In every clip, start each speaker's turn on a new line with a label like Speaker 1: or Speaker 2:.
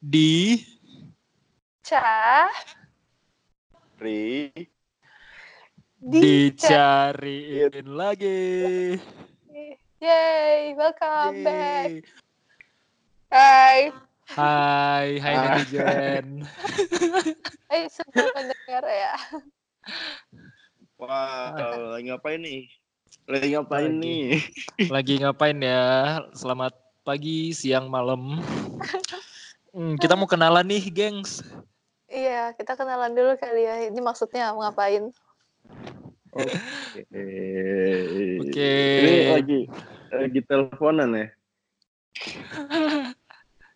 Speaker 1: di
Speaker 2: Ca
Speaker 3: Ri.
Speaker 2: Ca.
Speaker 1: dicariin lagi.
Speaker 2: Yay, welcome back.
Speaker 1: Yeay.
Speaker 2: Hai.
Speaker 1: Hai, hai
Speaker 3: Ah.
Speaker 1: netizen.
Speaker 2: Hai semua pendengar Eh, ya.
Speaker 3: Wah, lagi ngapain nih? Lagi ngapain
Speaker 1: Lagi.
Speaker 3: nih?
Speaker 1: Lagi ngapain ya? Selamat pagi, siang, malam. Hmm, kita mau kenalan nih, gengs.
Speaker 2: Iya, kita kenalan dulu kali ya. Ini maksudnya mau ngapain?
Speaker 3: Oke.
Speaker 1: Oke.
Speaker 3: Ini lagi lagi teleponan ya.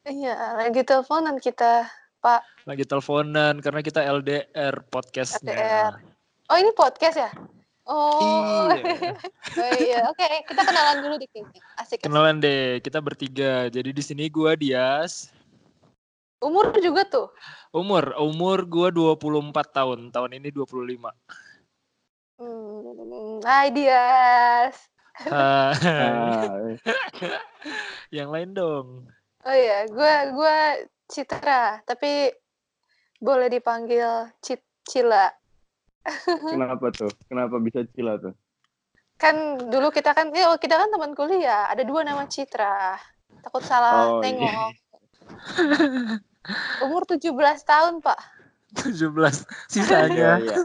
Speaker 2: Iya, lagi teleponan kita.
Speaker 1: Lagi teleponan karena kita LDR
Speaker 2: LDR.
Speaker 1: podcastnya.
Speaker 2: Oh, ini podcast ya? Oh.
Speaker 1: Iya.
Speaker 2: Oh iya, oke. Kita kenalan dulu dikit. Asik. asik.
Speaker 1: Kenalan deh, kita bertiga. Jadi di sini gua Dias.
Speaker 2: Umur juga tuh.
Speaker 1: Umur, umur gua 24 tahun. Tahun ini 25.
Speaker 2: Hmm, hai Dias.
Speaker 1: Hai.
Speaker 3: Ah,
Speaker 1: Yang lain dong.
Speaker 2: Oh iya, gue gua Citra, tapi boleh dipanggil Cit Cila.
Speaker 3: kenapa tuh? Kenapa bisa cila tuh?
Speaker 2: Kan dulu kita kan, eh, kita kan teman kuliah, ada dua nama Citra. Takut salah
Speaker 3: Iya. Oh, iya.
Speaker 2: tengok. Umur 17 tahun, Pak.
Speaker 1: 17
Speaker 3: Iya,
Speaker 1: sisanya.
Speaker 3: iya.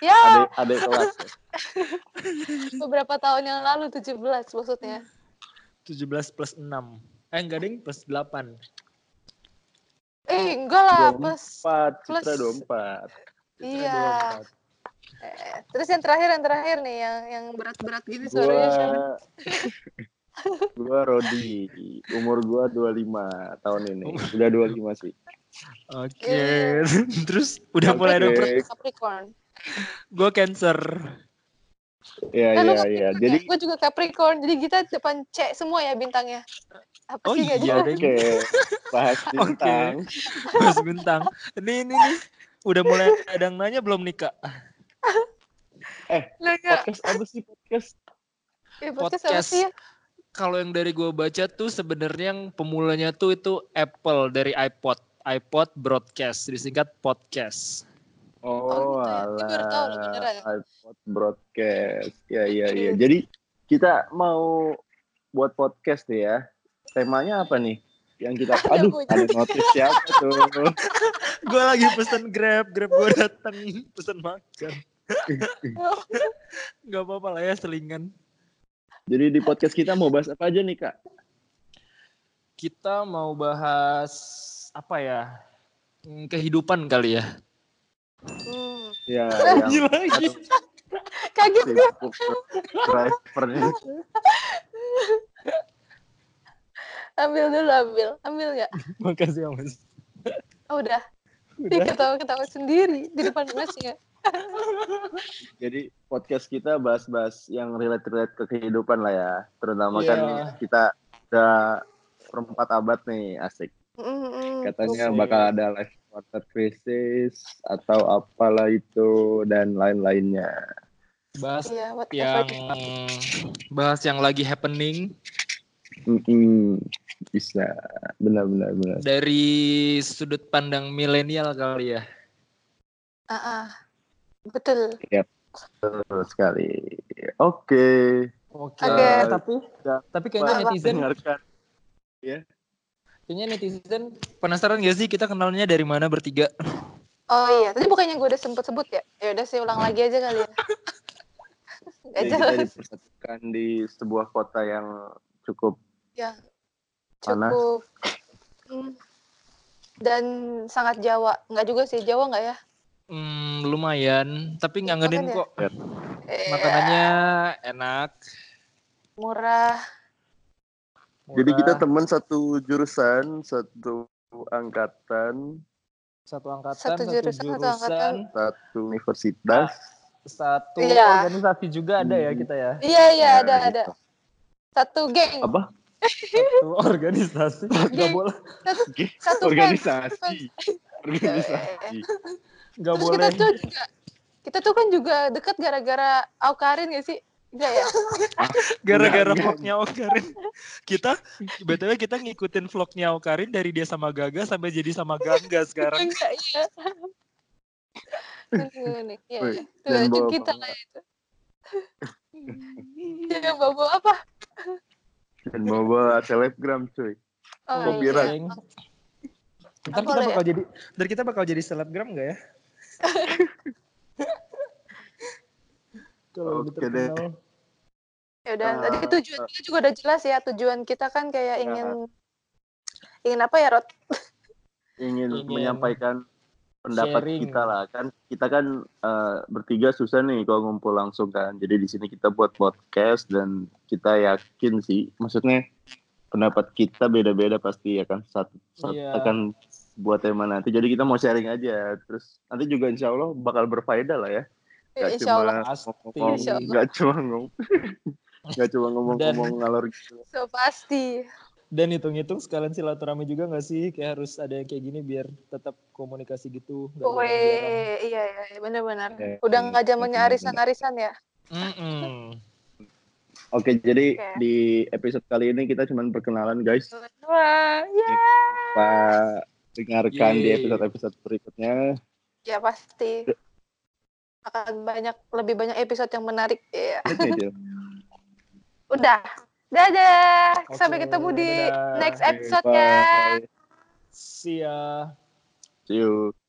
Speaker 2: Ya,
Speaker 3: Ada ada kelas. ya?
Speaker 2: beberapa tahun yang lalu 17 maksudnya.
Speaker 1: 17 plus 6. Eh enggak ding, plus 8.
Speaker 2: Eh, enggak lah,
Speaker 3: Belum.
Speaker 2: plus.
Speaker 3: Iya. Empat,
Speaker 2: Plus.
Speaker 3: Citra dua empat.
Speaker 2: Iya. Eh, Terus yang terakhir, yang terakhir nih, yang yang berat-berat gitu, gini
Speaker 3: Gua
Speaker 2: suaranya. siapa?
Speaker 3: gua Rodi. Umur gua 25 tahun ini. Udah 25 sih.
Speaker 1: Oke. Terus udah
Speaker 3: Iya. Oke.
Speaker 1: mulai ada per-
Speaker 2: Capricorn.
Speaker 1: Gua cancer.
Speaker 3: Iya,
Speaker 2: Nah, lu kan
Speaker 3: iya, iya.
Speaker 2: Capricorn
Speaker 3: Jadi
Speaker 2: ya? gue juga Capricorn, jadi kita depan C semua ya bintangnya. Apa
Speaker 1: Oh
Speaker 2: sih nggak
Speaker 1: iya
Speaker 2: jelas?
Speaker 1: ding.
Speaker 3: Oke, bahas
Speaker 1: Oke.
Speaker 3: bintang.
Speaker 1: Terus bintang. Ini ini nih. Udah mulai ada yang nanya belum nih Kak?
Speaker 2: Lu nggak-
Speaker 3: Podcast apa sih podcast?
Speaker 2: ya, podcast apa
Speaker 1: podcast.
Speaker 2: sih ya?
Speaker 1: Kalau yang dari gua baca tuh sebenarnya yang pemulanya tuh itu Apple dari iPod. iPod broadcast disingkat podcast.
Speaker 2: gitu
Speaker 3: Oh,
Speaker 2: ya. Ini baru tahu loh, beneran.
Speaker 3: alah, iPod broadcast. Iya, iya, iya.
Speaker 2: Iya.
Speaker 3: Jadi kita mau buat podcast nih ya. Temanya apa nih? Yang kita
Speaker 2: Ada
Speaker 3: aduh,
Speaker 2: bunyi.
Speaker 3: ada notif siapa tuh?
Speaker 1: Gua lagi pesen Grab, Grab gua dateng pesen makan. Gak apa-apa lah ya selingan.
Speaker 3: Jadi di podcast kita mau bahas apa aja nih, Kak?
Speaker 1: Kita mau bahas apa ya? Hmm, Kehidupan kali ya.
Speaker 2: Hmm.
Speaker 3: Ya,
Speaker 1: Lagi
Speaker 3: yang
Speaker 1: lagi.
Speaker 2: Kaget
Speaker 3: si
Speaker 2: gue.
Speaker 3: drivernya.
Speaker 2: Ambil dulu, ambil. Ambil nggak?
Speaker 1: Makasih ya mas.
Speaker 2: Oh, udah. Ih,
Speaker 1: Udah.
Speaker 2: ketawa-ketawa sendiri di depan mas ya.
Speaker 3: Jadi podcast kita bahas-bahas yang relate-relate ke kehidupan lah ya. Terutama kan
Speaker 1: Iya.
Speaker 3: kita udah perempat abad nih, asik.
Speaker 2: Mm-mm.
Speaker 3: Katanya
Speaker 1: Oke.
Speaker 3: bakal ada life quarter crisis atau apalah itu dan lain-lainnya.
Speaker 1: Bahas
Speaker 2: Iya, what
Speaker 1: yang bahas yang lagi happening
Speaker 3: Mm-mm. Bisa, benar-benar benar.
Speaker 1: dari sudut pandang milenial kali ya.
Speaker 2: Ah, Betul.
Speaker 3: Betul sekali. Oke.
Speaker 1: Oke.
Speaker 2: Ada.
Speaker 1: Tapi tapi kayaknya
Speaker 3: Wah,
Speaker 1: netizen
Speaker 3: dengarkan.
Speaker 1: kayaknya netizen penasaran gak sih kita kenalnya dari mana bertiga?
Speaker 2: Oh iya, tadi bukannya gue udah sempet sebut ya? Ya udah sih ulang lagi aja kali ya. Gak
Speaker 3: Jadi kita
Speaker 2: jelas.
Speaker 3: dipersatukan di sebuah kota yang cukup
Speaker 2: Ya,
Speaker 3: Panas.
Speaker 2: cukup Hmm. dan sangat Jawa. Nggak juga sih Jawa nggak ya?
Speaker 1: Hmm, lumayan, tapi ngangenin
Speaker 2: Makan ya?
Speaker 1: kok.
Speaker 2: Eh,
Speaker 1: Makanannya enak.
Speaker 2: murah.
Speaker 3: Jadi kita
Speaker 1: murah,
Speaker 3: teman satu jurusan, satu angkatan,
Speaker 1: satu angkatan,
Speaker 2: satu jurusan, satu angkatan.
Speaker 3: satu universitas.
Speaker 1: satu
Speaker 2: Iya.
Speaker 1: organisasi juga ada ya kita ya.
Speaker 2: Iya iya ada
Speaker 3: Nah,
Speaker 2: ada.
Speaker 3: gitu.
Speaker 2: Satu geng,
Speaker 3: Apa?
Speaker 1: Satu organisasi. Gak
Speaker 2: Geng.
Speaker 1: boleh,
Speaker 2: satu fans.
Speaker 3: Organisasi. Organisasi.
Speaker 1: gak
Speaker 2: Terus
Speaker 1: boleh.
Speaker 2: kita tuh juga kita tuh kan juga deket gara-gara Aukarin gak sih? Enggak ya?
Speaker 1: Gara-gara
Speaker 3: Enggak,
Speaker 1: vlognya Okarin. Kita, btw kita ngikutin vlognya Okarin dari dia sama Gaga sampai jadi sama Gangga sekarang.
Speaker 2: Enggak ya. Tunggu nih. Iya,
Speaker 3: Woi,
Speaker 2: iya. Itu
Speaker 3: jangan
Speaker 2: itu
Speaker 3: bawa
Speaker 2: kita
Speaker 3: bawa.
Speaker 2: lah itu. Jangan bawa apa?
Speaker 3: Dan bawa selebgram cuy.
Speaker 2: Oh, iya.
Speaker 3: Copyright.
Speaker 1: Ceng. Ntar
Speaker 2: Boleh
Speaker 1: kita
Speaker 2: ya?
Speaker 1: bakal jadi, ntar kita bakal jadi selebgram gak ya? Kalau lebih
Speaker 3: Oke deh.
Speaker 1: terkenal.
Speaker 2: Ya udah, tadi
Speaker 3: Eh,
Speaker 2: tujuan kita juga udah jelas ya. Tujuan kita kan kayak
Speaker 3: Ya.
Speaker 2: ingin ingin apa ya, Rod?
Speaker 3: Ingin,
Speaker 1: Ingin
Speaker 3: menyampaikan pendapat
Speaker 1: sharing.
Speaker 3: kita lah kan kita kan eh, bertiga susah nih kalau ngumpul langsung kan jadi di sini kita buat podcast dan kita yakin sih maksudnya pendapat kita beda-beda pasti ya akan satu, satu-
Speaker 1: Iya.
Speaker 3: akan buat tema nanti jadi kita mau sharing aja terus nanti juga insya Allah bakal berfaedah lah ya
Speaker 2: Ya,
Speaker 3: Gak
Speaker 2: Insya Allah.
Speaker 1: Pasti.
Speaker 3: ngomong
Speaker 2: Insya Allah.
Speaker 3: nggak cuma ngomong nggak cuma ngomong-ngomong ngalor gitu
Speaker 2: So pasti.
Speaker 1: Dan hitung-hitung sekalian silaturahmi juga gak sih? Kayak harus ada yang kayak gini biar tetap komunikasi gitu. nggak jarang-jarang.
Speaker 2: Weh, iya iya iya, benar-benar.
Speaker 3: Ya,
Speaker 2: Udah
Speaker 3: iya,
Speaker 2: nggak zamannya
Speaker 3: benar-benar.
Speaker 2: arisan-arisan ya.
Speaker 1: 嗯 Mm-mm.
Speaker 3: oke jadi
Speaker 2: Oke.
Speaker 3: di episode kali ini kita cuma perkenalan guys
Speaker 2: Wah, ya.
Speaker 3: kita dengarkan di
Speaker 1: Yeay.
Speaker 3: episode-episode berikutnya
Speaker 2: Ya pasti. Akan banyak lebih banyak episode yang menarik. Iya.
Speaker 3: Ini dia.
Speaker 2: Udah. Dadah.
Speaker 1: Oke,
Speaker 2: Sampai ketemu di
Speaker 1: dadah.
Speaker 2: next
Speaker 3: Bye.
Speaker 2: episode ya.
Speaker 1: See ya.
Speaker 3: See you.